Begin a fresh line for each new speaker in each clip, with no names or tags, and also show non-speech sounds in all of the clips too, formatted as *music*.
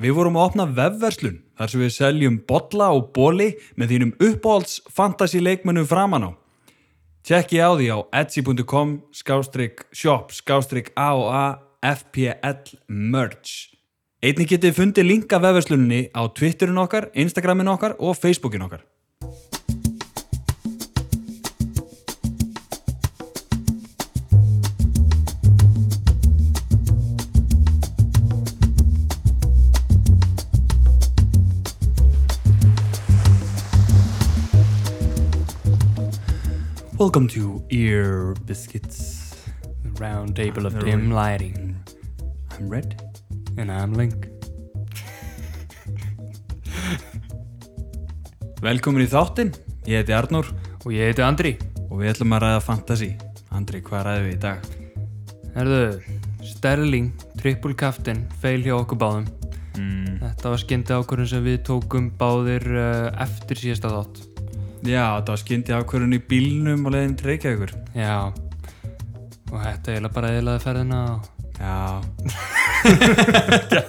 Við vorum að opna vefverslun þar sem við seljum bolla og bóli með þínum uppáhalds fantasy leikmönnum framan á. Tjekki á því á etsy.com skástrík shop skástrík AOA FPL merch. Einnig getið fundið linka vefverslunni á Twitterin okkar, Instagramin okkar og Facebookin okkar. Welcome to Ear Biscuits.
The round table of dim lighting.
I'm Red.
And I'm Link.
Velkomin í þáttinn. Ég heiti Arnór
Og ég heiti Andri.
og við ætlum að ræða fantasy. Andri, hvað ræðum við í dag?
Herðu, Sterling, triple captain, fail hjá okkur báðum. Þetta var skyndi ákvörðun sem við tókum báðir uh, eftir síðasta þátt.
Já, þetta var skyndi ákvörðun í bílnum og leiðin til Reykjavíkur.
Já. Og þetta er eiginlega bara eiginlega ferðina á... *laughs*
Já.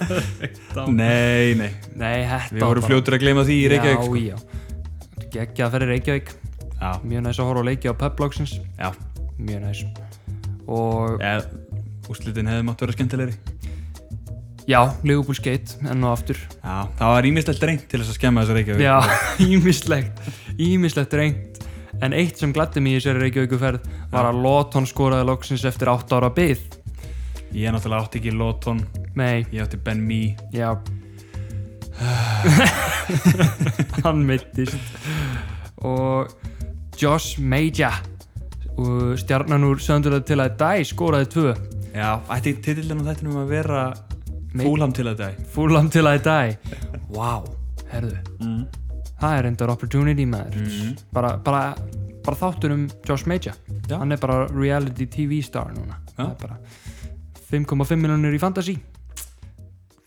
nei, nei.
Nei, þetta
Við vorum fljótur að gleyma því í Reykjavík. sko.
Já, já. Þetta er ekki að ferði Reykjavík.
Já,
Mjög næs að horfa á leiki á publogsins.
já.
Mjög næs. Og
Ja, úslitin hefði mátt vera skemmtilegri.
já, Liverpool skeitt enn og aftur.
Já, það var ímislegt reynd til þess að skemma þessu Reykjavík.
Já, *laughs* ímislegt, ímislegt reynd En eitt sem gladdi mig í þessari Reykjavíkuferð var að Lóton skoraði loksins eftir 8 ára byð
Ég náttúrulega átti ekki Lóton,
Nei,
ég átti Ben Mee.
já Hann meittist Og Josh Meja og stjarnan úr Söndulega til að dæ skoraði 2
Já, ætti titillin á þættinum að vera
Nei.
Fúlham til að dag.
Fúlam til að dæ Vá, herðu Það er reyndar opportunity maður bara, bara, bara þáttur um Josh Meja
Já.
Hann er bara reality TV star núna
Já.
Það er bara 5,5 miljonir í fantasy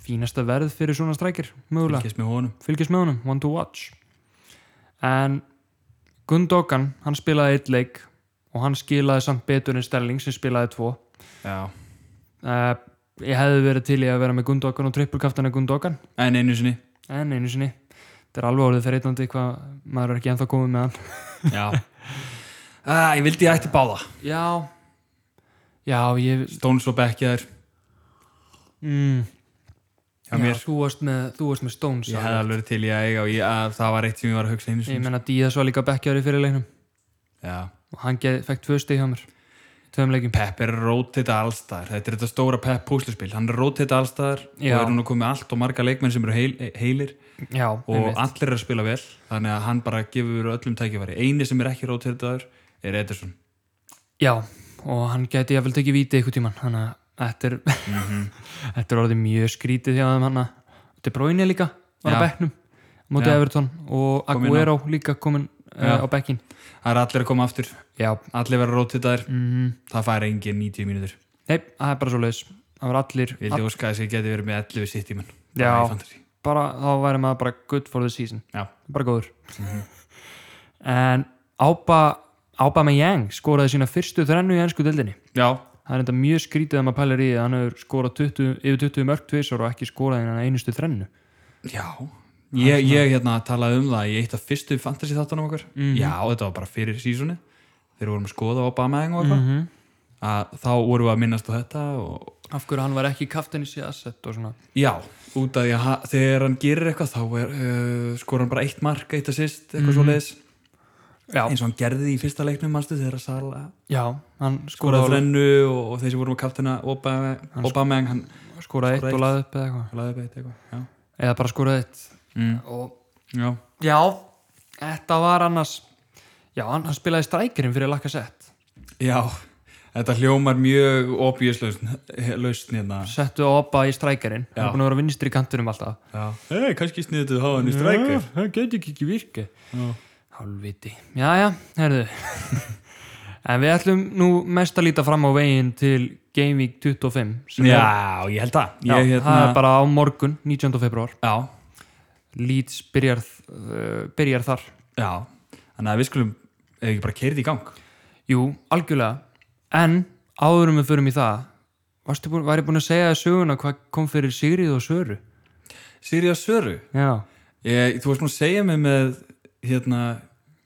Fínasta verð fyrir svona strækir Mögulega, fylgist,
Fylgjast með honum.
með honum, one to watch En Gundogan, hann spilaði eitt leik Og hann skilaði samt betur en Stelling sem spilaði tvo
Já.
uh, Ég hefði verið til í að vera með Gundogan og trippulkaftana Gundogan
En einu sinni.
En einu sinni, þetta er alveg orðið þreytandi hvað maður er ekki ennþá komið með hann *laughs*
Já. ah, ég vildi ég ætti báða.
Já Já, ég
Stones og Beckjaður.
mm,
Hjá mér.
þú, varst með, þú varst með Stones
Ég
alveg.
hefði alveg verið til í að eiga og ég, að það var eitt sem ég var að hugsa einu
Ég
sinni.
menna Díaz var líka bekkjar í fyrirleiknum
Já.
og hann get, fekk tvö stig hjá mér Tveim leikum
Pep er rótita allstaðar. Þetta er þetta stóra Pep púsluspil. Hann er rótita allstaðar og
Já.
er núna komið allt og marga leikmenn sem eru heil, heilir
Já,
og allir eru að spila vel. Þannig að hann bara gefur öllum tækifæri. Eini sem er ekki rótitaður er Ederson.
Já, og hann geti ég vel tekið víti ykkur tíman þannig að þetta er
Mhm.
*laughs* þetta er orðið mjög skrítið hjá þeim hann þetta er bróinni líka, var á
Já.
bekknum á móti
Já.
Everton og
Kom inn á.
Aguero líka komin
Já.
uh, á bekkin
Það er allir að koma aftur.
Já,
Allir verða rótitaður.
Mhm.
Það fær engin 90 mínútur.
nei, það er bara svo leiðis það var allir,
Vildi óska þess að ég geti verið með 11 sitt í menn.
Já.
Fantasy.
bara, þá væri maður bara good for the season
Já.
bara góður en Ába Ába með Yang skoraði sína fyrstu þrennu í ennsku deildinni
Já.
það er enda mjög skrítið að maður pælar í að hann hefur skorað 20, yfir 20 mörg tvisar og ekki skoraði hann einustu þrennu
Já. Ég, ég hérna talaði um það í eitt af fyrstu fantasy þáttunum okkar. Já, þetta var bara fyrir sísunni. Þegar við vorum að skoða Obama og eitthvað. Að þá vorum við að minnast á þetta og
af hverju hann var ekki kaftin í síða asset og svona
já, út af því að ha- þegar hann gerir eitthvað þá er, uh, skor hann bara eitt mark, eitt assist, eitthvað mm
já,
Eins og hann gerði í fyrsta leiknum, manstu, þegar að Sala
já hann
skoraði
skoraði,
þrennu og, og þeir sem vorum að kaftina Obama, Obama hann
skoraði eitt og
eitt.
laði upp eða eitthvað
laði upp eitt eitthvað. Já.
eða bara skoraði eitt
Mm.
og
já.
já, þetta var annars já, hann, hann spilaði strækirinn fyrir lakka sett
Já, þetta hljómar mjög obvious lausn, lausn hérna.
settu Ába í strækirinn hann
Já.
er búin að vera vinstri í kantinum alltaf
Já. Hei, kannski sniðið þú hann í strækir.
Já, það getur ekki ekki virkið
Já.
Hálfviti Já, já, herðu *laughs* En við ætlum nú mest að líta fram á veginn til Game Week 25 sem er,
Já, ég held það.
já
Ég,
það er
hérna,
bara á morgun 19. februar
já,
Leeds byrjar, uh, byrjar þar
já, þannig að við skulum, ef ekki bara keirið í gang.
Jú, algjörlega En áðurum við förum í það Varstu búin, var ég búin að segja þér söguna hvað kom fyrir Sigrið og Söru?
Sirja Söru
Já,
ég, Þú varst nú að segja mig með hérna,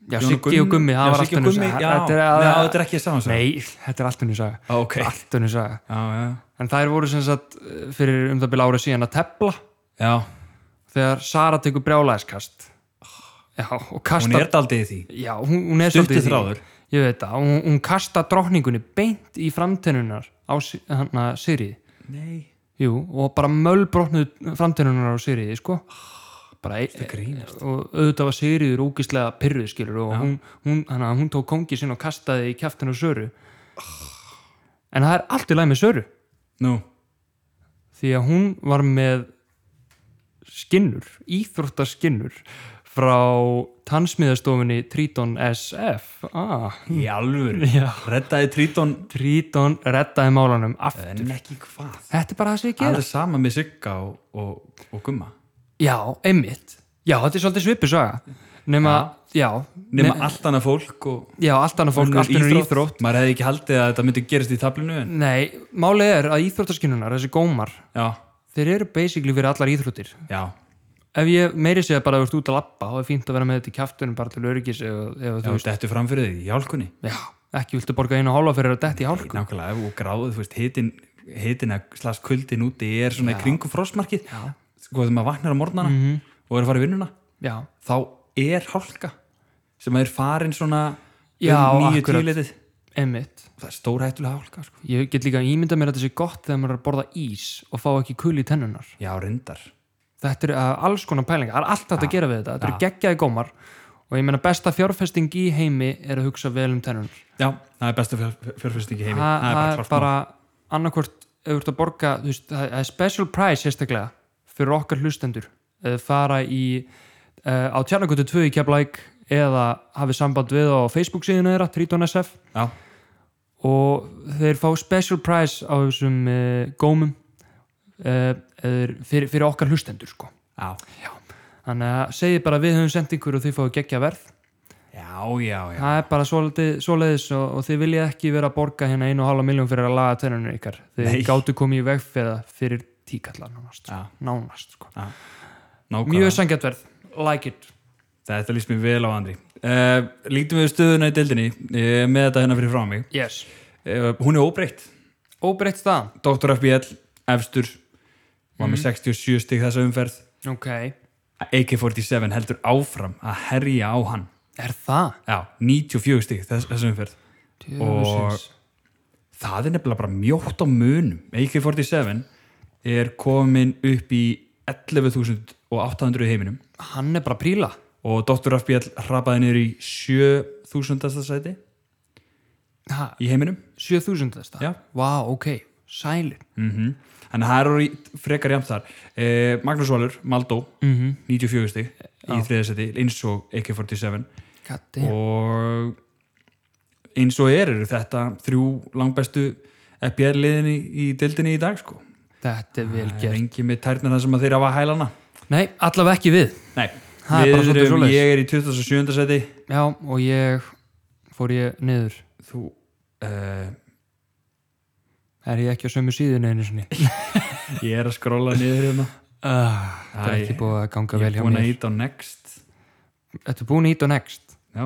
já
Jón
Siggi og Gummi, það
Já,
var
Siggi
allt
og
önnur
Gummi,
saga.
já,
Þetta er
Nei,
að-
þetta er ekki saman
Nei, þetta er allt önnur saga
Ó, ok.
Allt önnur saga
Já, já,
En þær voru sem sagt eh, fyrir um það byrja ára síðan að tepla
já
þegar Sara tekur brjálæðiskast Já, og
Hún
kastar
er daldið í því
Já, hún, hún er
Duttu
svolítið í því.
þráður.
Ég veit það, hún, hún kastar drottningunni beint í framtennunar á hann að Sirið
Nei
Jú, og bara mölbrotnuð framtennunar á Siriði, sko bara e og auðvitað var Siriður ógislega pyrruð, skilur og hún, hún, hana, hún tók kongi sinn og kastaði í kjaftinu Söru en það er allt í lagi með Söru
Nú,
því að hún var með skinnur, íþróttaskinnur frá tannsmiðastofinni Triton SF ah,
í alvöru
Já.
*laughs* Reddaði Tríton
Triton reddaði málanum aftur
En ekki hvað
þetta er bara það sem ég
Það
gera
er sama með Sigga og, og, og Gumma
Já, einmitt. Já, þetta er svolítið svipið saga. Nefna, já,
Nefna
ne-
allt annað fólk og
já, allt annað fólk,
önnur
allt ennur íþrótt.
Maður hefði ekki haldið að þetta myndi gerist í tablinu en
Nei, málið er að íþróttaskinunar, þessi gómar,
Já,
þeir eru basically fyrir allar íþróttir.
já,
Ef ég meiri segja bara að þú ert út að lappa, þá er fínt að vera með þetta í kjaftunum bara til öryggis eða, eða
já
þú veist,
þetta er framfyrir því í hálkunni
já, ekki viltu borga einu hálfa fyrir að detti í hálku.
Nákvæmlega, ef- og gráðu, þú veist, hitin hitin að slags kuldin úti er svona í kringum frostmarkið, sko þegar maður vaknar á morgnana
Mhm.
og er að fara í vinnuna
Já,
þá er hálka sem er farin svona
Já,
um nýju
akkurat.
tíleitið
einmitt.
það er stórhættulega hálka sko.
Ég get líka ímyndað mér að þetta sé gott þegar maður er að borða ís og fá ekki kul í tennunar.
já, reyndar
þetta eru uh, alls konar pælingar, það er allt þetta að gera við þetta þetta eru geggjaði gómar og ég meina besta fjárfesting í heimi er að hugsa vel um tennur
já, það er besta fjár- fjárfesting í heimi
það
það er bara
er
klart
bara annarkvort ef þú ert að borga, þú veist, það það er special price sérstaklega fyrir okkar hlustendur eða fara í uh, á tjarnakotu 2 í Keflæk eða hafið samband við á Facebook síðuna þeirra, Triton SF
mál. já,
og þeir fá special price á þessum uh, gómum uh, fyrir, fyrir okkar hlustendur sko
já,
Þannig að segið bara að við höfum sendt ykkur og þið fáið geggja verð.
já, já, já.
Það er bara svolítið- svoleiðis og, og þið viljið ekki vera að borga hérna einu og halva miljón fyrir að laga tennunum ykkar. Þið
Nei.
gátu komið í veg fyrir, það fyrir tíkallar nánast.
Já.
Nánast, sko.
nákvæmlega
Mjög sangjart verð. Like it.
þetta líst mér vel á andri uh, lítum við stöðuna í deildinni uh, með þetta hennar fyrir frá mig
Yes.
uh, hún er óbreytt
Óbreytt staðan.
Dr. FBL, efstur var með 67 stig þessa umferð
Ok.
AK-47 heldur áfram að herja á hann
Er það?
já, 94 stig þess, þessa umferð
Djöfusins.
það er nefnilega bara mjótt á munum AK-47 er komin upp í 11.800 í heiminum
Hann er bara að príla.
og Dr. FBL hrapaði niður í 7.000 sæti
Ha,
í heiminum
7000 þess það?
Já.
Vá, ok. Sælin.
Mhm. Þannig að það eru í- frekar jæmt þar. Eh, Magnús Valur, Maldó,
Mhm.
94 stig í þriðasetti, eins og AK-47
Gatti.
og eins og er eru þetta þrjú langbestu FBR-liðin í, í dildinni í dag sko.
Þetta er vel
Það er
gert.
engin með tærnar þar sem að þeir hafa hælana.
Nei, allavega ekki við.
Nei,
Það er bara
við
svolítið
erum,
svoleiðis.
ég er í 27. seti,
Já, og ég fór ég niður.
þú...
eh,
Uh,
Er ég ekki á sömu síðun einu sinni?
ég er að skrolla niður hérna
Það er ekki búið að ganga vel
ég er
hjá
búin
mér.
að íta á next
Þetta er búin að ít og next.
já,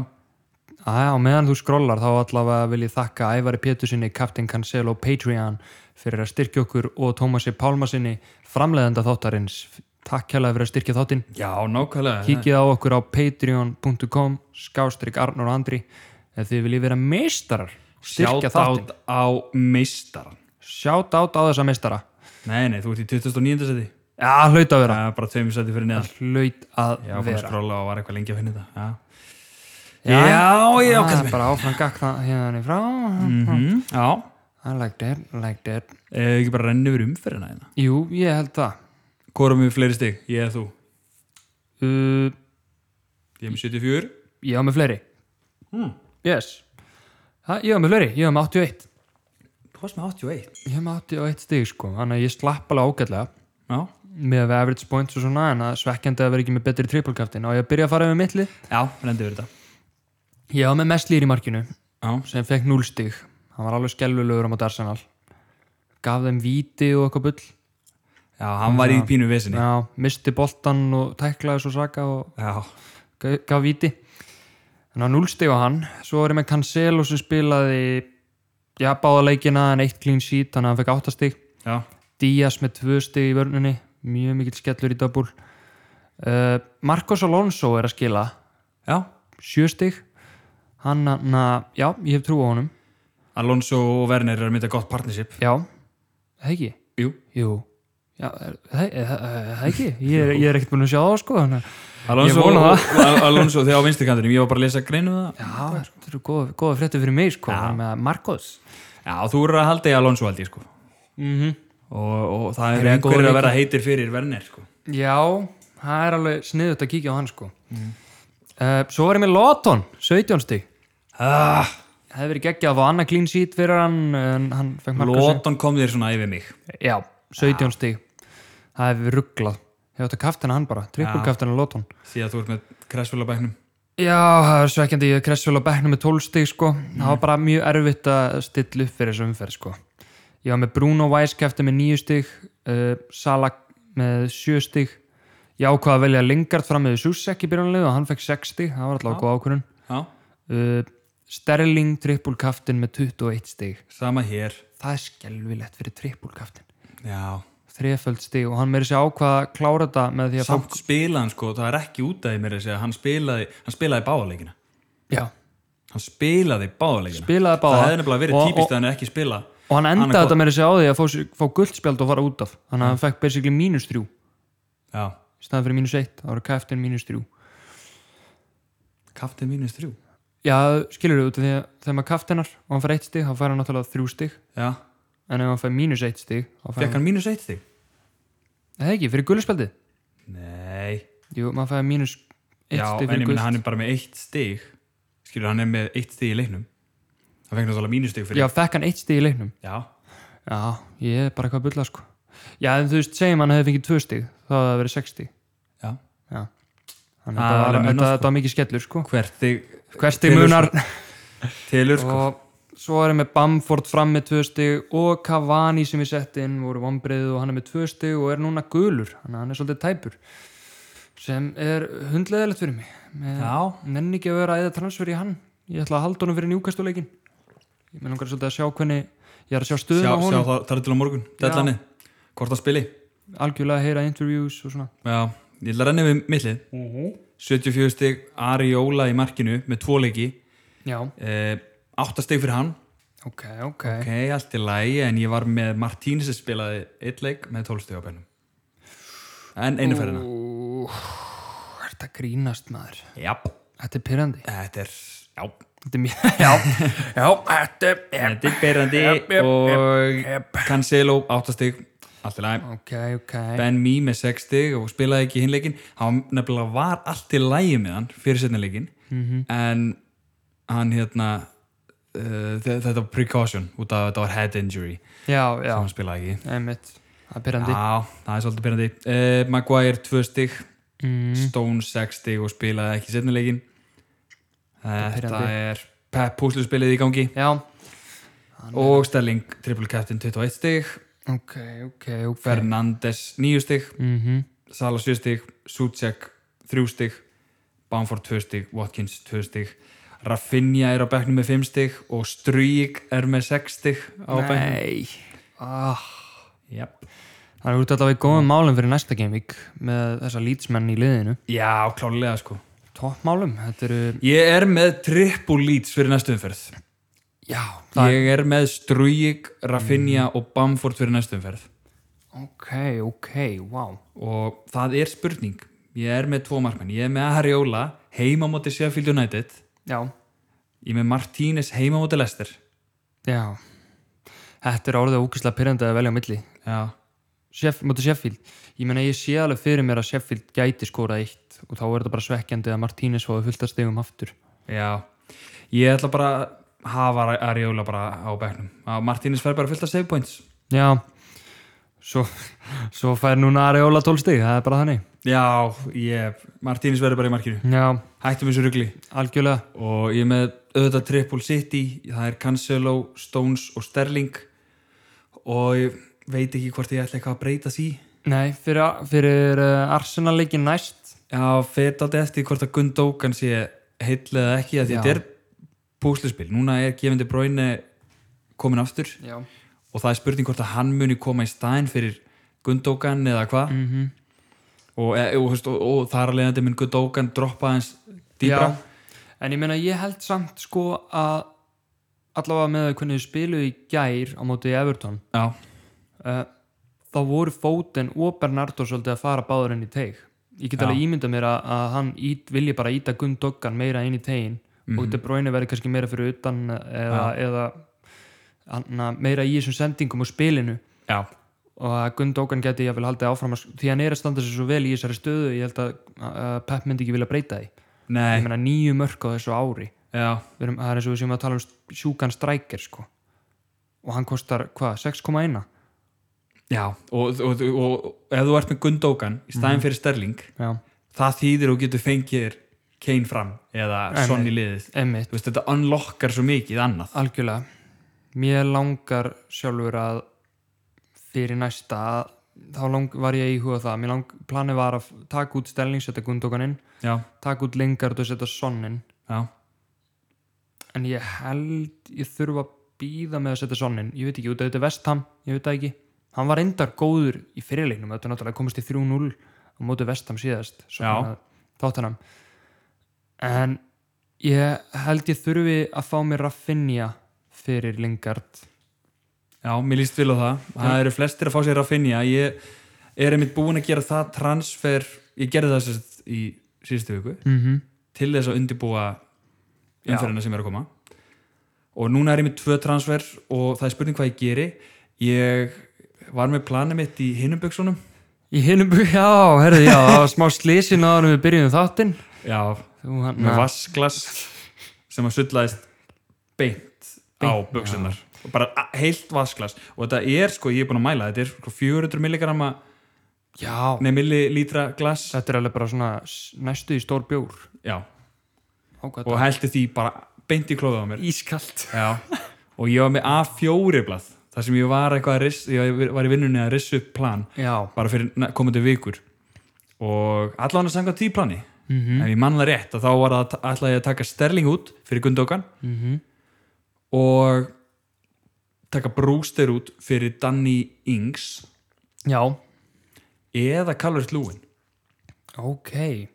Aðja, og meðan þú skrollar þá allavega vil ég þakka Ævari Pétursinni, Captain Cancel og Patreon fyrir að styrkja okkur og Tómasi Pálmasinni, framleiðenda þáttarins. Takk hérlega fyrir að styrkja þáttinn.
já, nákvæmlega
Kíkið á okkur á patreon.com skástrík Arnur og Andri ef þið viljið vera meistarar styrkja þáttinn.
Shoutout á meistaran
Sjátt át á þessa meistara.
Nei, nei, þú ert í 29. seti
Já, hlaut að vera.
Það er bara tveimur seti fyrir neðan
Hlaut að
Já, fann að
vera.
skrolla og var eitthvað lengi að finna þetta Já,
Já,
já, já,
Það
kallum
er Ah, bara áfram gagna hérna í frá.
mm, Já,
I liked it, liked it.
eða ekki bara renni yfir umferðina hérna
Jú, ég held það.
Hvor er mér fleiri stig? Ég eða þú
Uh,
Ég er með 74
ég á með fleiri. Yes. Ha, ég á með fleiri, ég á með 81.
Þú varst með 81
Ég á með 81 stig sko, þannig að ég slapp alveg ágætlega
Já,
með að average points og svona, en að svekkjandi að vera ekki með betri trippelkaftin og ég að byrja að fara með mittli.
já, renni yfir þetta
Ég á með mest lýr í markinu
Já,
sem fekk 0 stig. Hann var alveg skellulegur á mót Arsenal. Gaf þeim víti og eitthvað bull.
Já, hann var í pínu vesinni.
Já, misti boltan og tæklaði svo saka og
Já,
ga- gaf viti þannig að núlstig á hann svo var ég með Cancelo sem spilaði já, báða leikina en eitt clean sheet þannig að hann fekk áttastig
já,
Díaz með tvö stig í vörninni mjög mikill skellur í double uh, Marcos Alonso er að skila
já.
sjö stig hann, hann, já, ég hef trú á honum
Alonso og Werner er að mynda gott partnership.
já, það ekki
Jú.
jú, já, er- það er- það er ekki ég er, ég er ekkert búin að sjá það sko þannig að-
Alonso,
Ég vona
Al- Alonso þegar á vinstikandunum, ég var bara að lesa greinu það.
já, þetta eru góða, góða fréttir fyrir mig sko, með Marcos
Já, þú eru að halda í Alonso held ég sko.
mhm
Og, og það
Þeir
eru
eru
einhverjir
góðir
að vera heitir fyrir Werner sko.
Já, það er alveg sniðut að kíkja á hann sko uh, Svo var ég með Lóton, 17 stík
Ah,
Það hefði verið geggjað að fá annað clean sheet fyrir hann en hann fekk marka sig
Lóton kom þér svona yfir mig.
Já, 17 stík Það hefði verið rugglað Ég átti að kaftina hann bara, trippulkaftina Lóton
Því að þú ert með Kressvöla bæknum.
Já, það var svekkjandi ég kressfjöl á bekknum með 12 stík sko Það
Mm.
var bara mjög erfitt að stilla upp fyrir þessu umferð sko Ég var með Bruno Weiss kæfti með 9 stík uh, Salah með 7 stík Ég ákvað að velja Lingard fram með Susek í byrjunlegu og hann fekk 6 stík Það var alltaf góð ákvörun
Já,
uh, Sterling trippulkaftin með 21 stík
sama hér.
Það er skelvilegt fyrir trippulkaftin
Já.
Þreföld stík og hann meiri sér ákvað að klára þetta með því að fá-
Samt spilaði hann sko, það er ekki út af því mér að segja, hann spilaði, hann spilaði báðaleikina.
Já,
Hann spilaði báðaleikina.
Spilaði báða.
Það hefði nefnilega verið
Og-
típist að hann ekki spila.
og hann endaði
Annað
þetta meiri sér á því að fá, sér- fá guldspjald og fara út af Þannig að hann fekk basically mínus 3
Já,
í staðan fyrir mínus 1, þá eru kæftin mínus 3
kaftin mínus þrjú.
já, skilur þú, því að þegar maður kaftinar og hann fær 1 stig, þá fær hann náttúrulega 3 stig
Já,
en ef hann fær mínus 1 stig þá fær
fekk hann mínus eitt þig?
það er ekki, fyrir gullspjaldi
Nei.
jú, maður fær mínus 1
Já,
stig
en
fyrir
ég minna
gull
hann er bara með eitt stig. Skilur, hann er með eitt stig í leiknum. Það fekk náttúrulega mínus stig
já,
fyrir.
fekk hann 1 stig í leiknum
Já.
já, ég er bara eitthvað að bulla sko já, en þú veist, segjum hann hefði fengið 2 stig þá hefði það verið 6 stig
Já.
já, þannig
Það
að
er
þetta
alveg
var- þetta
munað,
þetta var mikið skellur sko
Hvert þig
hvert stig
Telur,
munar
telur sko.
og svo erum við Bamford fram með tvö stig og Cavani sem við sett inn voru vombrið og hann er með tvö stig og er núna gulur, þannig að hann er svolítið tæpur sem er hundleðilegt fyrir mig með
Já.
nenni ekki að vera eða transfer í hann ég ætla að halda honum fyrir njúkastuleikin ég með langar svolítið að sjá hvernig ég er að sjá
Sjá,
stöðun á
sjá
honum
það, það er til á morgun.
Já.
Della hann Hvort hann spili.
algjörlega að heyra interviews og svona
Já, ég ætla að renna við mittlið.
Mhm.
74 stig Ari Óla í markinu með tvo leiki
já,
eh, 8 stig fyrir hann
ok, ok,
ok, allt í lagi en ég var með Martínes sem spilaði eitt leik með 12 stig á bennum en einu ferðina
Ú, Þetta grínast maður
jáp,
Þetta er pyrrandi
þetta er já, *laughs*
Já, já, þetta er
þetta er berandi
Jep, jep, jep,
og Cancelo 8 stig, allt í lagi
Ok, ok.
Ben Mee með 6 stig og spilaði ekki hinn leikin hann nefnilega var allt í lagi með hann fyrir setna leikin
Mhm.
en hann hérna uh, þe- þetta var precaution út af að þetta var head injury
já,
sem
já,
hann spilaði ekki
einmitt. Það er pyrrandi.
Já, það er svolítið pyrrandi uh, Maguire 2 stig
Mm,
Stone 6 stig og spilaði ekki setnuleikin
er
Þetta
pirrandi.
er Pep púsluspilið í gangi
já,
og Sterling triple captain 21 stig
ok, ok, ok.
Fernandes 9 stig
Mm
Salah 7 stig, Sucek 3 stig Bamford 2 stig, Watkins 2 stig Rafinha er á bekknum með 5 stig og Struik er með 6 stig á bekknum
Nei. Ah,
Jep.
það er út allavega í góðum málum fyrir næsta gamevík með þessa lýtsmenn í liðinu.
Já, klálega sko
Topp málum, þetta eru,
Ég er með triple leads fyrir næstu umferð
já, það
Ég er með Strujik, Rafinha og Bamford fyrir næstu umferð
ok, ok, wow.
og það er spurning ég er með tvo markmenn, ég er með Ariola heima á móti Sheffield United
Já,
ég er með Martínez heima á móti Leicester
já. Þetta er orðið ógislega pyrrandi að velja á milli.
Já,
Sheff, mútið Sheffield, ég meina ég sé alveg fyrir mér að Sheffield gæti skórað eitt og þá er þetta bara svekkjandi að Martínez fóði fullt að stegum aftur.
já ég ætla bara að hafa Ariola bara á bekknum Að Martínez fer bara fullt af save points
Já Svo, svo fær núna Areola 12 stig, það er bara þannig
Já, ég, Martínez verður bara í markinu
Já,
hættum þessu rugli
algjörlega
og ég er með auðvitað Triple City það er Cancelo, Stones og Sterling og ég veit ekki hvort ég ætla eitthvað að breyta því
Nei, fyrir, fyrir uh, Arsenal leikin næst
Já, fyrir alltaf eftir hvort að Gundókan sé heill eða ekki að
Já.
þetta er púsluspil, núna er gefandi bróinu komin aftur
Já,
og það er spurning hvort að hann muni koma í staðin fyrir Gundókan eða hvað
Mhm.
og, e, og, og, og, og þar að leiðandi minn Gundókan droppa hans dýbra
Já. En ég meina, ég held samt sko að allavega með að hvernig þið spiluðu í gær á móti Everton
Já.
uh, þá voru Foden og Bernardo svolítið að fara báður inn í teig ég get
Já.
alveg ímynda mér að, að hann ít, vilji bara íta Gundoggan meira inn í tegin
Mhm.
og De Bruyne verði kannski meira fyrir utan eh, eða, eða anna, meira í þessum sendingum og spilinu
Já.
og að Gundoggan geti ég vil halda áfram að, því hann er að standa sér svo vel í þessari stöðu ég held að uh, Pep myndi ekki vilja breyta því
Nei,
ég meina nýju mörk á þessu ári
já,
Við erum, það er eins og við séum að tala um sjúkan strækir sko. og hann kostar hvað, 6,1
já og, og, og, og ef þú ert með Gundókan í staðin
Mhm.
fyrir Sterling
já,
það þýðir og getur fengið þér Kane fram eða
Nei,
Son
nei.
í liðið
emmitt,
Þú veist, þetta unlockar svo mikið annað
algjörlega mér langar sjálfur að fyrir næsta að- þá lang, var ég í huga það mér lang, planið var að taka út stelning setja gundókaninn,
Já,
taka út lengard og setja sonnin
já,
en ég held ég þurfa að býða með að setja sonnin ég veit ekki, út af þetta er vestham, ég veit það ekki hann var endar góður í fyrirleiknum þetta er náttúrulega komist í 3-0 á móti vestham síðast
Já.
þáttanam en ég held ég þurfi að fá mér að finja fyrir Lingard
já, mér líst vil á það Það eru flestir að fá sér að finja Ég er einmitt búin að gera það transfer Ég gerði það sérst í síðustu viku
mm -hmm.
Til þess að undibúa umferðina sem er að koma Og núna er ég með tvö transfer Og það er spurning hvað ég geri Ég var með planið mitt í hinum buxunum
í hinum bú, já, herðu, já, það var smá slísin áður en við byrjuðum þáttinn
Já,
þú hann,
með vasklas sem að sullaðist beint á buksunar og bara a- heilt vasklas og þetta er sko, ég er búin að mæla, þetta er sko 400 milligramma,
já,
nei millilítra glas
þetta er alveg bara svona s- næstu í stór bjór
já,
Ágætt.
og hælti því bara beint í klófið á mér
ískalt
já. og ég var með A4 blað þar sem ég var eitthvað að riss ég var í vinnunni að rissu upp plan
já,
bara fyrir næ- komandi vikur og allan að sanga því plani ef ég manna rétt að þá var það að ætla ég að taka sterling út fyrir gundókan
Mhm.
og taka brúster út fyrir Danny Ings
já
eða Calvert Lúin
Ok,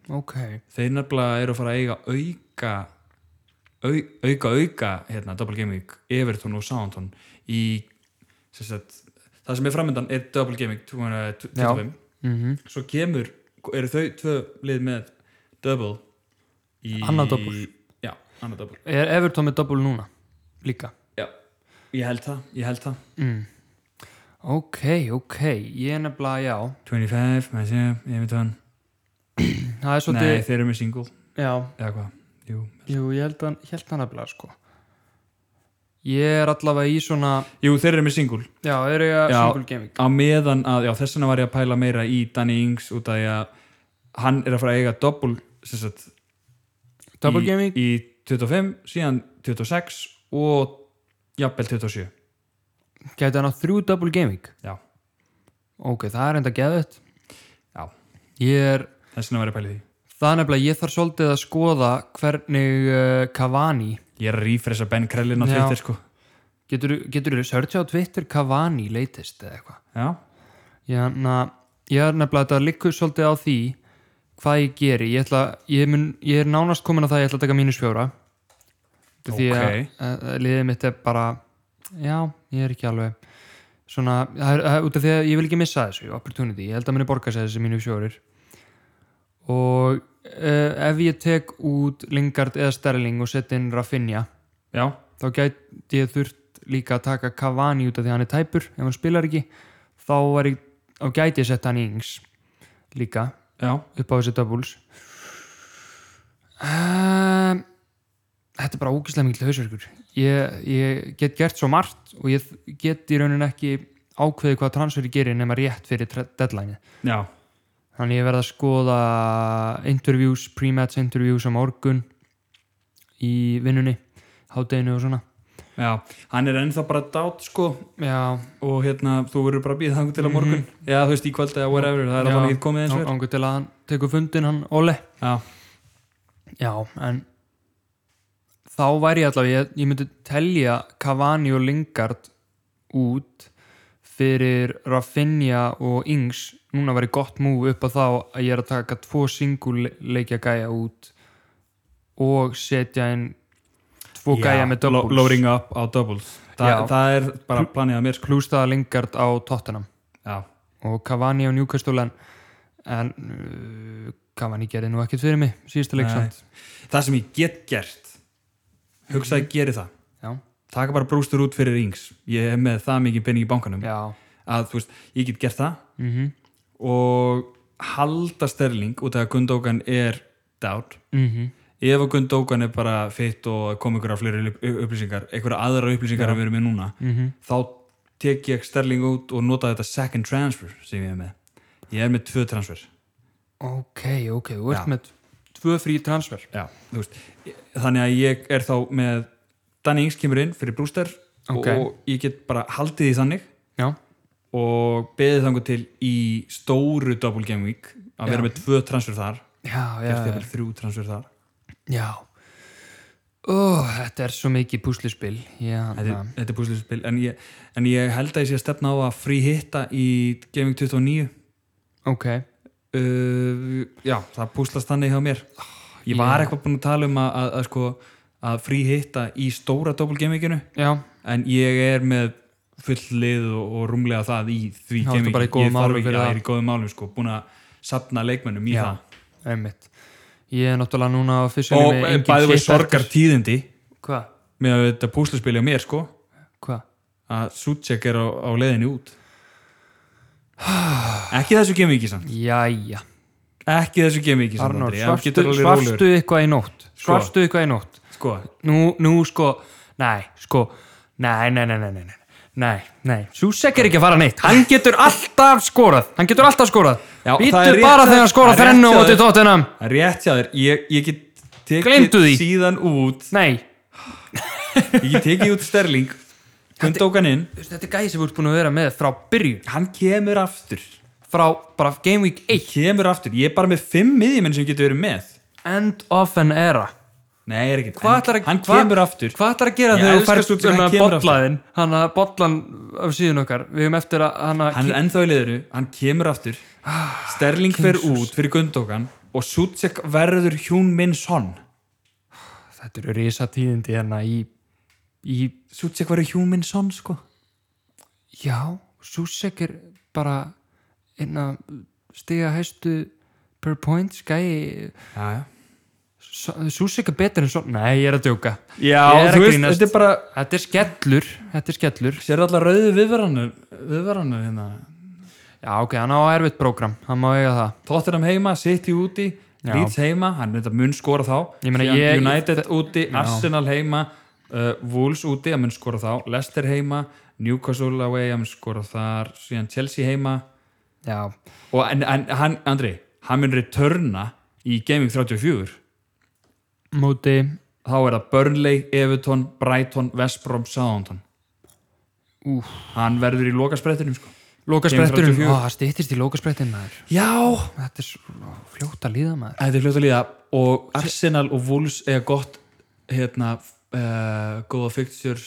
ok.
þeir nefnilega eru að fara að eiga auka au, auka auka hérna, Double Game Week, Everton og Soundton í sem sagt, það sem er framöndan er Double Game Week eh, 225
Mm -hmm.
svo kemur, eru þau tvö lið með double í...
Annað double.
já, annað double
Er Everton með double núna? Líka.
já. ég held það, ég held það
Ok, ok. Ég er nefnilega, já.
25, maður sé, Everton
Það er
nei,
svolítið,
þeir eru með single,
já.
eða hvað jú.
Jú, ég held hann, ég held hann nefnilega, sko. Ég er allavega í svona,
jú, þeir eru með single
já, er ég að
Já.
single gaming.
á meðan að, já, þess vegna var ég að pæla meira í Danny Ings út af því að hann er að fara að eiga double sem sagt,
Double
í,
gaming?
í 25, síðan 26 og jafnvel 27
Gæti hann á þrjú double gaming?
já,
Ok, það er enda geðvett.
já,
Ég er,
þess vegna var ég að pæla í því
það er nefnilega, ég þarf svolítið að skoða hvernig uh, Cavani,
ég er að rífresa Ben Krellin á
Já.
Twitter sko
getur þú searcha á Twitter Cavani latest eða eitthvað?
já,
Ég, na, ég er nefnilega þetta liggur svolítið á því hvað ég geri ég, ætla, ég, mun, ég er nánast komin að það að ég ætla að taka mínus fjóra okay. því að,
Ókei.
að, að liðið mitt er bara já, ég er ekki alveg svona, það er, að, út af því að ég vil ekki missa þessu opportunity, ég held að minni borga sér þessi mínus fjórir og uh, ef ég tek út Lingard eða Sterling og set inn Rafinha
já,
þá gæti ég þurft líka að taka Cavani út af því að hann er tæpur ef hann spilar ekki þá, var ég, þá gæti ég sett hann í yngs líka
já,
upp á þessi doubles um, Þetta er bara ógislega mikil hausverkur ég, ég get gert svo margt og ég get í raunin ekki ákveði hvað transferi gerir nema rétt fyrir tre- deadline
já
þannig ég verða að skoða interviews, pre-match interviews á morgun í vinnunni hádeginu og svona
Já, hann er ennþá bara dát sko
já,
og hérna þú verður bara að býða þangu til að morgun Já, þú veist, í kvöld eða whatever, það er
Mhm. Já.
alveg ekki komið eins og er
ángur til að hann tekur fundin hann Óli
Já,
já, en þá væri ég allavega, ég, ég myndi telja Cavani og Lingard út fyrir Rafinha og Ings núna væri gott múf upp að þá að ég er að taka tvo single leikja gæja út og setja inn tvo gæja með
lo-
doubles
Lowering up á doubles Þa,
Já.
Það er bara planið að mér sko
plus það að Lingard á Tottenham
Já,
og Cavani á Newcastle en, en uh, Cavani gerði nú ekkert fyrir mig síðasta
Nei.
leik samt
það sem ég get gert hugsa að ég geri það
já,
taka bara brústur út fyrir rings ég hef með það mikið pening í bankanum
já,
að þú veist, ég get gert það
mm -hmm.
og halda sterling út af að Gundókan er dát ef að Gundókan er bara fitt og kom ykkur á fleiri upplýsingar einhverja aðra upplýsingar að vera með núna þá tek ég sterling út og nota þetta second transfer sem ég hef með ég er með tvö transfer
ok, ok, þú
Já.
ert með tvö frí transfer
Já, þú veist, ég- þannig að ég er þá með Danny Ings kemur inn fyrir Brewster
Ok.
og ég get bara haldið því þannig
já,
og beðið þangu til í stóru Double Game Week að vera
Já.
með tvö transfer þar
já, já,
gert
já,
jafnvel þrjú transfer þar
já. Ó, þetta er svo mikið púslispil já,
þetta, er- þetta er púslispil en, ég- en ég held að ég sé að stefna á að frí hitta í Game Week 29
ok
uh, já, það púslast þannig hjá mér ég var
Já.
eitthvað búin að tala um að, að, að, sko, að frí hitta í stóra Double Game Weekinu
já,
en ég er með full lið og, og rúmlega það í því
Já, ertu
gaming,
bara í góðum
ég þarf
málum
ekki
fyrir
að
það.
er í góðum málum sko, búin að sapna leikmennum í
Já, einmitt ég er náttúrulega núna á
það
fyrstjönni
og eh, bæði við sorgar tíðindi
hvað,
með að þetta púslaspili á mér sko
hvað
að Sucek er á, á leiðinni út ekki þessu gamingi samt
jæja,
ekki þessu gamingi samt
Arnór,
Andri. Já,
svarstu,
getur alveg Sko. rólegur.
svarstu eitthvað í nótt svarstu eitthvað í nótt
sko,
nú, nú sko, nei, sko nei, nei, nei, nei, nei, nei, nei, nei Susek er ekki að fara neitt, hann getur alltaf skorað, hann getur alltaf skorað
Já,
býtu
það er rétt
bara
hjá-
þegar hann skorað
það er rétt
þrennu
hjá
og til
þér.
tóttinam
rétt hjá þér ég, ég get
Gleymdu því.
tekið síðan út
nei,
ég get tekið út Sterling Gundókan inn,
Þú veist, þetta er gæði sem við erum búin að vera með frá byrju,
hann kemur aftur
frá bara Game Week 1
kemur aftur, ég er bara með fimm miðjumenn sem getur verið með
end of an era
Nei, ég er ekki
Hvað ætlar að-
Hann
hvað-
kemur aftur
hvað ætlar að gera
Ég
þegar þú
elska Susek,
færst
hann
hann
kemur aftur.
botlaðin hann að botlan af síðun okkar við hefum eftir að hann að
Hann er ennþá í liðinu, hann kemur aftur
Ah,
Sterling fer út fyrir Gundókan og Sucek verður Hjún minn son
þetta eru risatíðindi hérna í, í
Sucek verður Hjún minn son, sko
Já, Susek er bara einna stiga hæstu per point skæi
Já, já
Susek er betur en svo Nei, ég er að djóka Ég
Já,
er
þú
að
veist,
grínast.
þetta er bara
Þetta er skellur, þetta er skellur
Sér alltaf rauðu viðvaranu Viðvaranu hérna
Já, ok, hann á erfitt prógram, hann má eiga það
Tottenham heima, City úti
Já.
Leeds heima, hann þetta mun skora þá
Ég meina,
Síðan
ég-
United úti, Arsenal heima uh, Wolves úti, hann mun skora þá Leicester heima, Newcastle away hann mun skora þar, síðan Chelsea heima
Já,
og en, en hann, Andri hann mun returna í Gaming 34
móti
þá er það Burnley, Everton, Brighton West Brom, Southampton
Úff.
hann verður í lokasprettinum sko.
Lókaspretturinn,
34.
Ó, það stýttist í lókasprettin maður
já,
Þetta er svo fljótt að líða maður
Þetta er fljótt að líða og Arsenal og Wolves eiga gott hérna uh, góða fixtures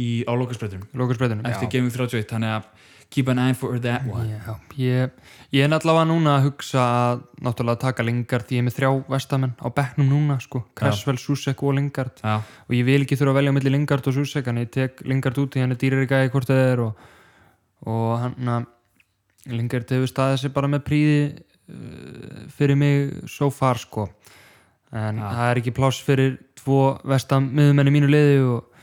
í álokasbreytunum
Lókasprettinum,
eftir Gaming 31 þannig að keep an eye for that one
Já, ég, ég er náttúrulega núna að hugsa að náttúrulega taka Lingard því ég er með þrjá vestamenn á bekknum núna sko, Kressvel, Susek og Lingard
Já,
og ég vil ekki þurfa að velja millir Lingard og Susek en ég tek Lingard út því hann er dýrari gæði hvort það er og, og hann að Lingard hefur staðið sér bara með príði uh, fyrir mig so far sko en það er ekki pláss fyrir tvo vestam miðumenn í mínu liði og,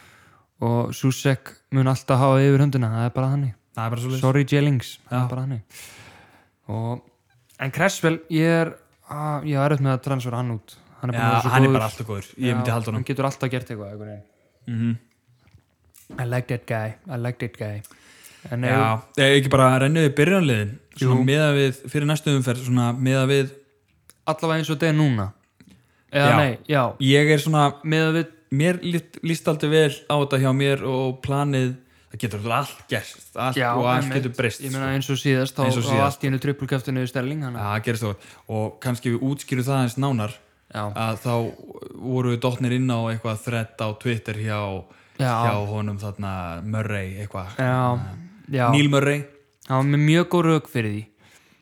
og Susek mun alltaf hafa yfir höndina, það er bara þannig
það er bara svo
Sorry Jellings það er bara hannig og, En Cresswell, ég er að, ég er upp með að transfera hann út hann er, búinn að vera
Já,
svo
hann er
góður.
bara alltaf góður ég myndi
Já,
halda honum
hann getur alltaf gert eitthvað mm -hmm. I like that guy I like that guy en ef,
Mhm. Já, eh, ekki bara renniði byrjanliðin svona meða við, fyrir næstu umferð svona meða við,
allavega eins og þetta er núna eða
Já.
nei, já,
ég er svona
með að við
mér líst, líst aldrei vel á þetta hjá mér og planið það getur alltaf allt gerst allt og allt
einmitt.
getur breyst
ég
sko.
meina eins og síðast þá
Eins og
þá
síðast.
allt í hennu trippulkæftinu stelling hana.
Já, það gerist það og kannski við útskýrum það eins nánar
Já.
að þá voru við dottnir inn á eitthvað þrett á Twitter hjá,
Já.
hjá honum þarna Murray eitthvað,
já, já,
Neil Murray
það var með mjög góð rauk fyrir því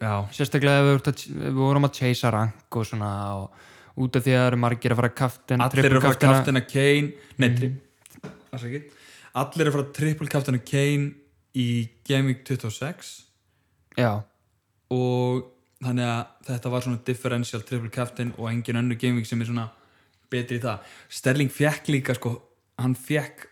Já,
sérstaklega ef við, vorum að- ef við vorum að chasea rank og svona og út af því að það eru margir að fara kaftin
allir eru að fara kaftina Kane nei, mm. tri, allir eru að fara triple kaftina Kane í Gaming 26
já,
og þannig að þetta var svona differential triple captain og engin önnur gaming sem er svona betri í það Sterling fekk líka sko hann fekk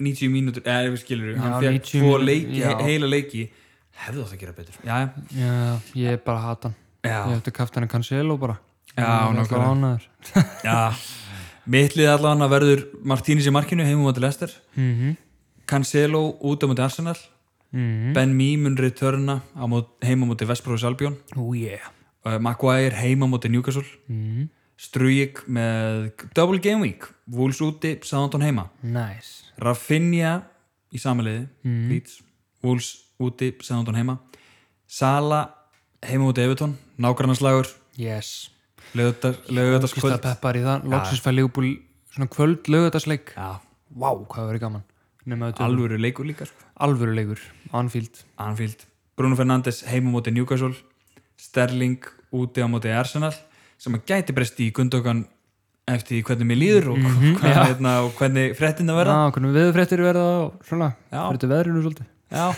90 mínútur eða ef við skilur, hann
Já,
fekk
90
tvo
mínútur,
leiki,
já.
heila leiki hefði átt að gera betur já,
já, ég er bara að hata hann
Já.
ég ætti kaftin að cancela bara
Já, nákvæmlega.
nákvæmlega
já mittlið allan að verður Martínis í markinu heimum á til Lester
mm -hmm.
Cancelo út á móti Arsenal Ben Mee mun returna á mót, heima á móti Vestbróðis Albjón
oh yeah
uh, Maguire heima á móti Newcastle
mm.
Strujik með Double Game Week Wolves úti, Southampton heima
nice
Rafinha í samaliði mm. Leeds, Wolves úti Southampton heima Sala heima úti Everton, nágrannarslagur
yes Kristaf
lögutaskvöld
Peppar í það loksins fæði Leopold svona kvöld lögutarsleik
Já,
vá, wow, hvað verið gaman nema þetta
alvöru leikur líka sko.
alvöru leikur Anfield
Anfield, Bruno Fernandes heima á móti Newcastle Sterling úti á móti Arsenal sem að gæti breyst í gundökan eftir því hvernig mér líður og, *laughs* hvað, hérna, og hvernig fréttina verða
Já, hvernig veðurfréttir verða og svona,
Já.
fyrir veðrinu svolítið
Já,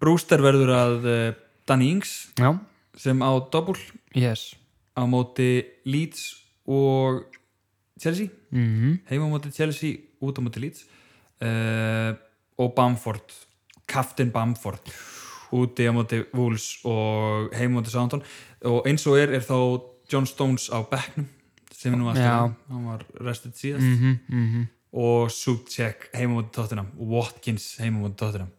Brewster verður að eh, Danny Ings
Já,
sem á dobbul
yes
á móti Leeds og Chelsea
mm
heima á móti Chelsea, út á móti Leeds uh, og Bamford Captain Bamford úti á móti Wolves og heima á móti Southampton og eins og er er þá John Stones á bekknum sem nú að
Já. Mhm,
hann var restið síðast og Subcheck heima á móti Tottenham og Watkins heima á móti Tottenham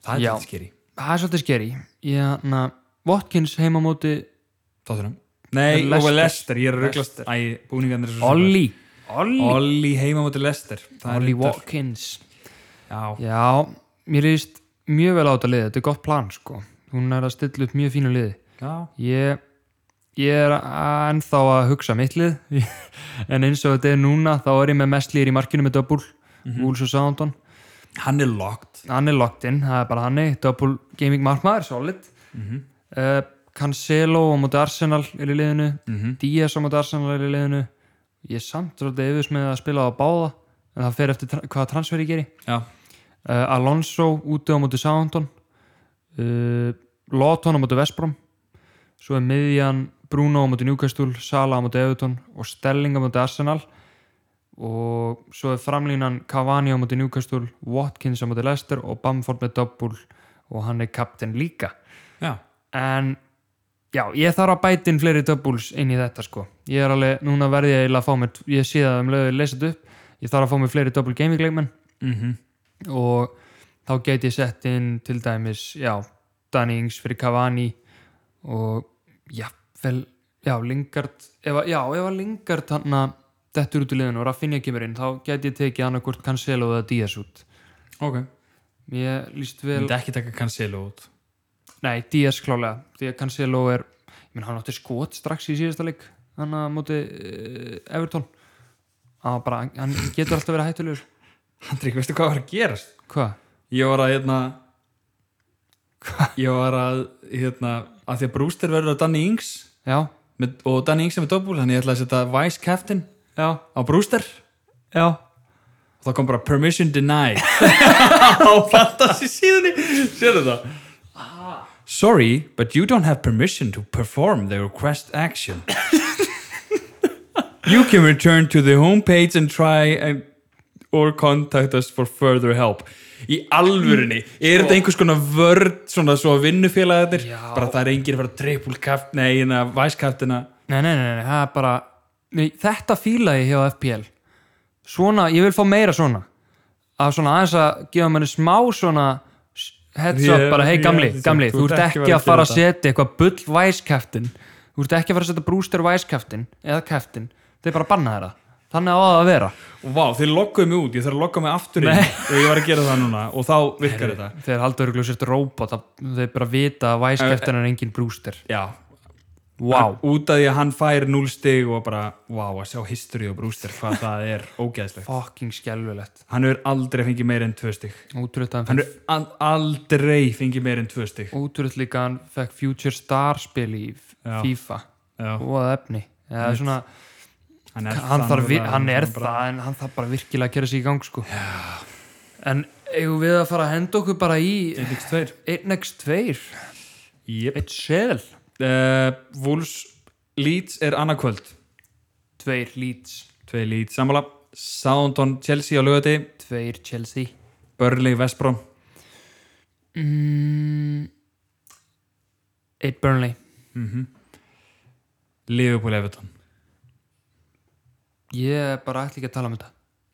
það er
Já.
þetta skeri
Það er svolítið skeri Ég, na, Watkins heima á móti
Tottenham Nei,
Leicester.
og Lester, ég er að röglast Æ, búningarnir eru svo
Olli Olli,
Olli heima á móti Lester
Olli Watkins
Já,
Já, mér líst mjög vel á þetta liði, þetta er gott plan sko Hún er að stilla upp mjög fínu liði
já,
Ég, ég er að- ennþá að hugsa mitt lið *laughs* en eins og þetta er núna þá er ég með mestlýr í markinu með Döbul mm -hmm. Úls og Sándon
hann er locked
hann er locked in, það er bara hannig double gaming markmaður, solid
Mhm,
uh, Cancelo á móti Arsenal er í liðinu,
Mhm.
Diaz á móti Arsenal er í liðinu, ég er samt drótið yfirs með að spila á báða en það fer eftir tra- hvaða transfer ég geri
Já,
uh, Alonso úti á móti Southampton uh, Lawton á móti Vestbrom svo er miðjan Bruno á móti Newcastle Sala á móti Everton og Stelling á móti Arsenal og svo er framlínan Cavani á móti Newcastle Watkins á móti Leicester og Bamford með doppul og hann er kapten líka
já,
en já, ég þarf að bæta inn fleiri doubles inn í þetta sko ég er alveg, núna verði ég eiginlega að fá mér ég sé það um lögur leysað upp ég þarf að fá mér fleiri double gaming leikmenn
Mhm.
-hmm. og þá get ég sett inn til dæmis, já Danny Ings fyrir Cavani og já, vel já, Lingard, ef, að- já, ef að Lingard hann að dettur út í liðinu og Rafinha kemur inn, þá get ég tekið annarkvort Cancelo eða Díaz út
ok
ég líst
Ég
vel
myndi ekki taka Cancelo út
Nei, Díaz klálega því að Cancelo er, ég menn hann átti skot strax í síðasta leik hann að móti uh, Everton hann, var bara, hann getur alltaf verið hættulegur
Andri, veistu hvað var að gerast?
Hvað?
Ég var að, hérna Ég var að, hérna að því að Brewster verður að Danny Ings
Já,
með, og Danny Ings er með dobbul, þannig ég ætla að setja Vice Captain
já,
á Brewster
já
og þá kom bara Permission Denied *laughs* á fantasy síðunni Sérðu það? Ah. Sorry, but you don't have permission to perform the request *laughs* action You can return to the homepage and try and or contact us for further help Í alvörinni, er þetta einhvers konar vörd svona svo að vinnufélagarnir
Já.
bara það er enginn að fara trippulkaft nei, hérna, en að væskaftina
Nei, nei, nei, nei, það er bara nei, þetta fíla ég hjá FPL Svona, ég vil fá meira svona að svona aðeins að gefa manni smá svona heads up
Ég-
bara, hei
ég-
gamli,
þú-
gamli, þú ert ekki að fara að
þetta."
setja eitthvað bull væskæftin þú ert ekki að fara að setja brúster væskæftin eða kæftin, þeir bara banna þeirra þannig á það að vera
og vá, þeir logguðu mig út, ég þarf að logga mig aftur inn
Nei.
og ég var að gera það núna og þá virkar þetta
þegar haldur örgulega sért robot að- þeir bara vita að væskeftan er engin brúster
já,
wow,
út af því að hann fær núl stig og bara, vá, að sjá history og brústir hvað það er ógeðslegt
fucking skelvilegt
hann hefur aldrei fengið meir en tvö stig
útrútt að hann
hann hefur al- aldrei fengið meir en tvö stig
útrútt líka að hann fekk Future Star spil í
Já.
FIFA
Já.
og að efni ja, svona,
hann er
hann, þarf, vi-
þannig
hann er
bara-
það en hann þarf bara virkilega að gera sig í gang sko. en eigum við að fara að henda okkur bara í
1x2
1x2
yep.
eitt seðl
uh, Wolves Leeds er annarkvöld
2 Leeds,
tvei Leeds sammála Southampton Chelsea á lögati
2 Chelsea
Burnley Vestbrom
mm, 1 Burnley
Mhm. Liverpool Everton
ég bara ætla ekki að tala um þetta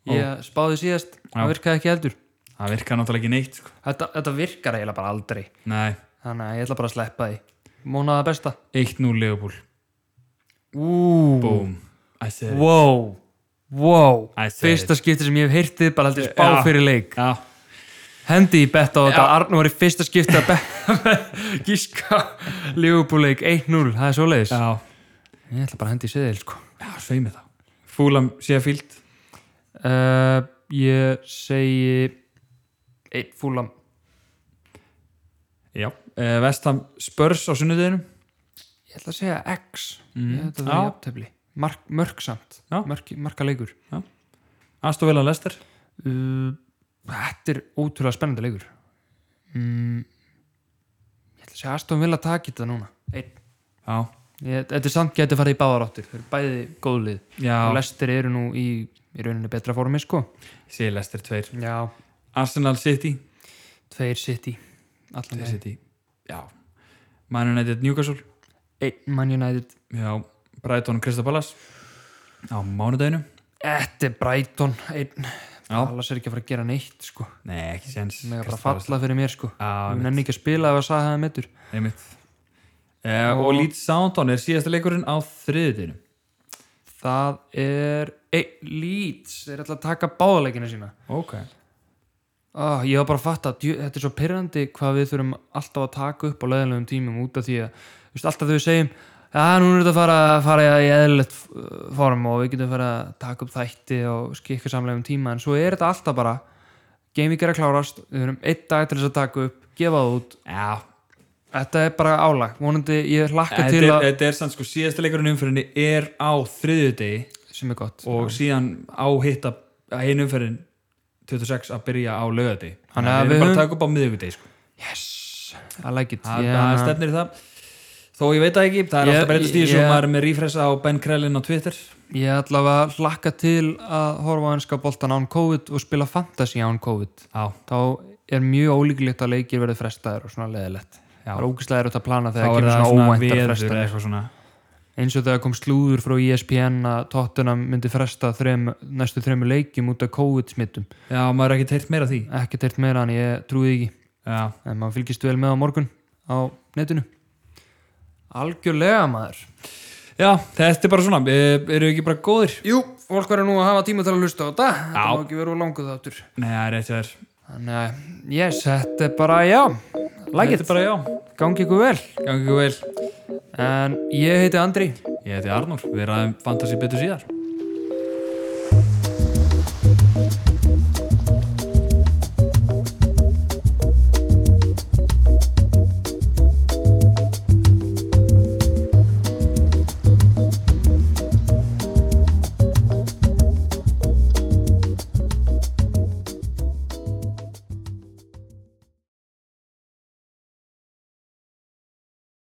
ég spáði síðast, það virkaði ekki heldur
það virkar náttúrulega ekki neitt sko.
þetta, þetta virkar eiginlega bara aldrei
nei
þannig að ég ætla bara að sleppa því mónaða besta
1-0 Liverpool
Ú,
boom I said it
wow, wow
I said
fyrsta skipti sem ég hef heyrtið bara aldrei spá
Já.
fyrir leik
já
hendi í betta á þetta, Arnur var í fyrsta skipti að betta *laughs* gíska Liverpool-leik 1-0, það er svo leiðis
já
ég ætla bara að hendi í seðil sko
já sveimi þá Fulham Sheffield
uh, ég segi eitt fúlam
já uh, Vestham Spurs á sunnudeginu
ég ætla að segja X
Mm.
ég ætla að
Já.
það jafntefli Mark, mörgsamt,
Já.
Mörk, marka leikur
Aston Villa Leicester
uh, þetta er ótrúlega spennandi leikur mm, ég ætla að segja Aston Villa taki þetta núna Einn.
já
ég, þetta er samt getur farið í báðar áttir þau eru bæði góð lið og
já
lestir eru nú í, í rauninni betra formi sko
sé Leicester 2
já,
Arsenal City
tveir sitt í allan
Leicester
veginn.
City já Man United Newcastle
einn Man United
Já, Brighton Crystal Palace á mánudaginu
Þetta er Brighton einn,
Já.
Allas er ekki að fara að gera neitt sko.
Nei, ekki séns
með að bara falla fyrir mér sko.
Já,
hún nenni ekki að spila ef að sagði það meittur
einmitt uh, Og Leeds Soundon er síðasta leikurinn á þriðudaginu
það er einn Leeds, þeir ætla að taka báðaleikina sína
Ok
ah, ég var bara að fatta, djú, þetta er svo pyrrandi hvað við þurfum alltaf að taka upp á leðanlegum tímum út af því að, þú veist, alltaf þau segjum já, nú er þetta að fara, fara í eðlilegt uh, form og við getum fara að taka upp þætti og skikka samlegum tíma en svo er þetta alltaf bara gaming er að klárast, við þurfum einn dag til þess að taka upp, gefa það út
Já,
Þetta er bara álag, vonandi ég hlakka
þetta
til
er,
að
þetta er sann sko síðasta leikurinn umferðinni er á þriðudagi
sem er gott
og síðan á hitta einu umferðin 26 að byrja á lögati
Þannig að
við erum bara
við höfum-
að taka upp á miðvikudegi sko.
Yes, I like it
Það
Ég-
það stefnir í það Þó ég veit það ekki, það er
Ég-
alltaf breytast í þessu
ég-
maður er með rífresa á Ben Krellin á Twitter
Ég allavega hlakka til að horfa á einska boltan án COVID og spila fantasy án COVID
Já,
þá er mjög ólíklegt að leikir verið frestaðir og svona leðilegt
Já.
Það er ógæslega erut að plana
þá
þegar
er
kemur
það
svona
svona
óvæntar
veður eh. eða
frestanir
eitthvað svona
eins og þegar kom slúður frá E ESPN að Tottenham myndi fresta þrem, næstu þremu leikjum út af COVID-smittum
Já, maður er ekkert heyrt meira af því
ekki teirt meira en ég trúði ekki
Já,
en maður fylgist vel með á morgun á netinu algjörlega maður
Já þetta er bara svona, e, eru ekki bara góðir?
Jú, fólk verður nú að hafa tíma til að hlusta á þetta þetta
Já.
má ekki verið languð áttur
Nei, það er rétt hjá þér
þannig að, yes, þetta er bara já like
Þetta er
it,
bara já,
gangi ykkur vel
gangi ykkur vel
en ég heiti Andri
Ég heiti Arnór, við ræðum fantasy betur síðar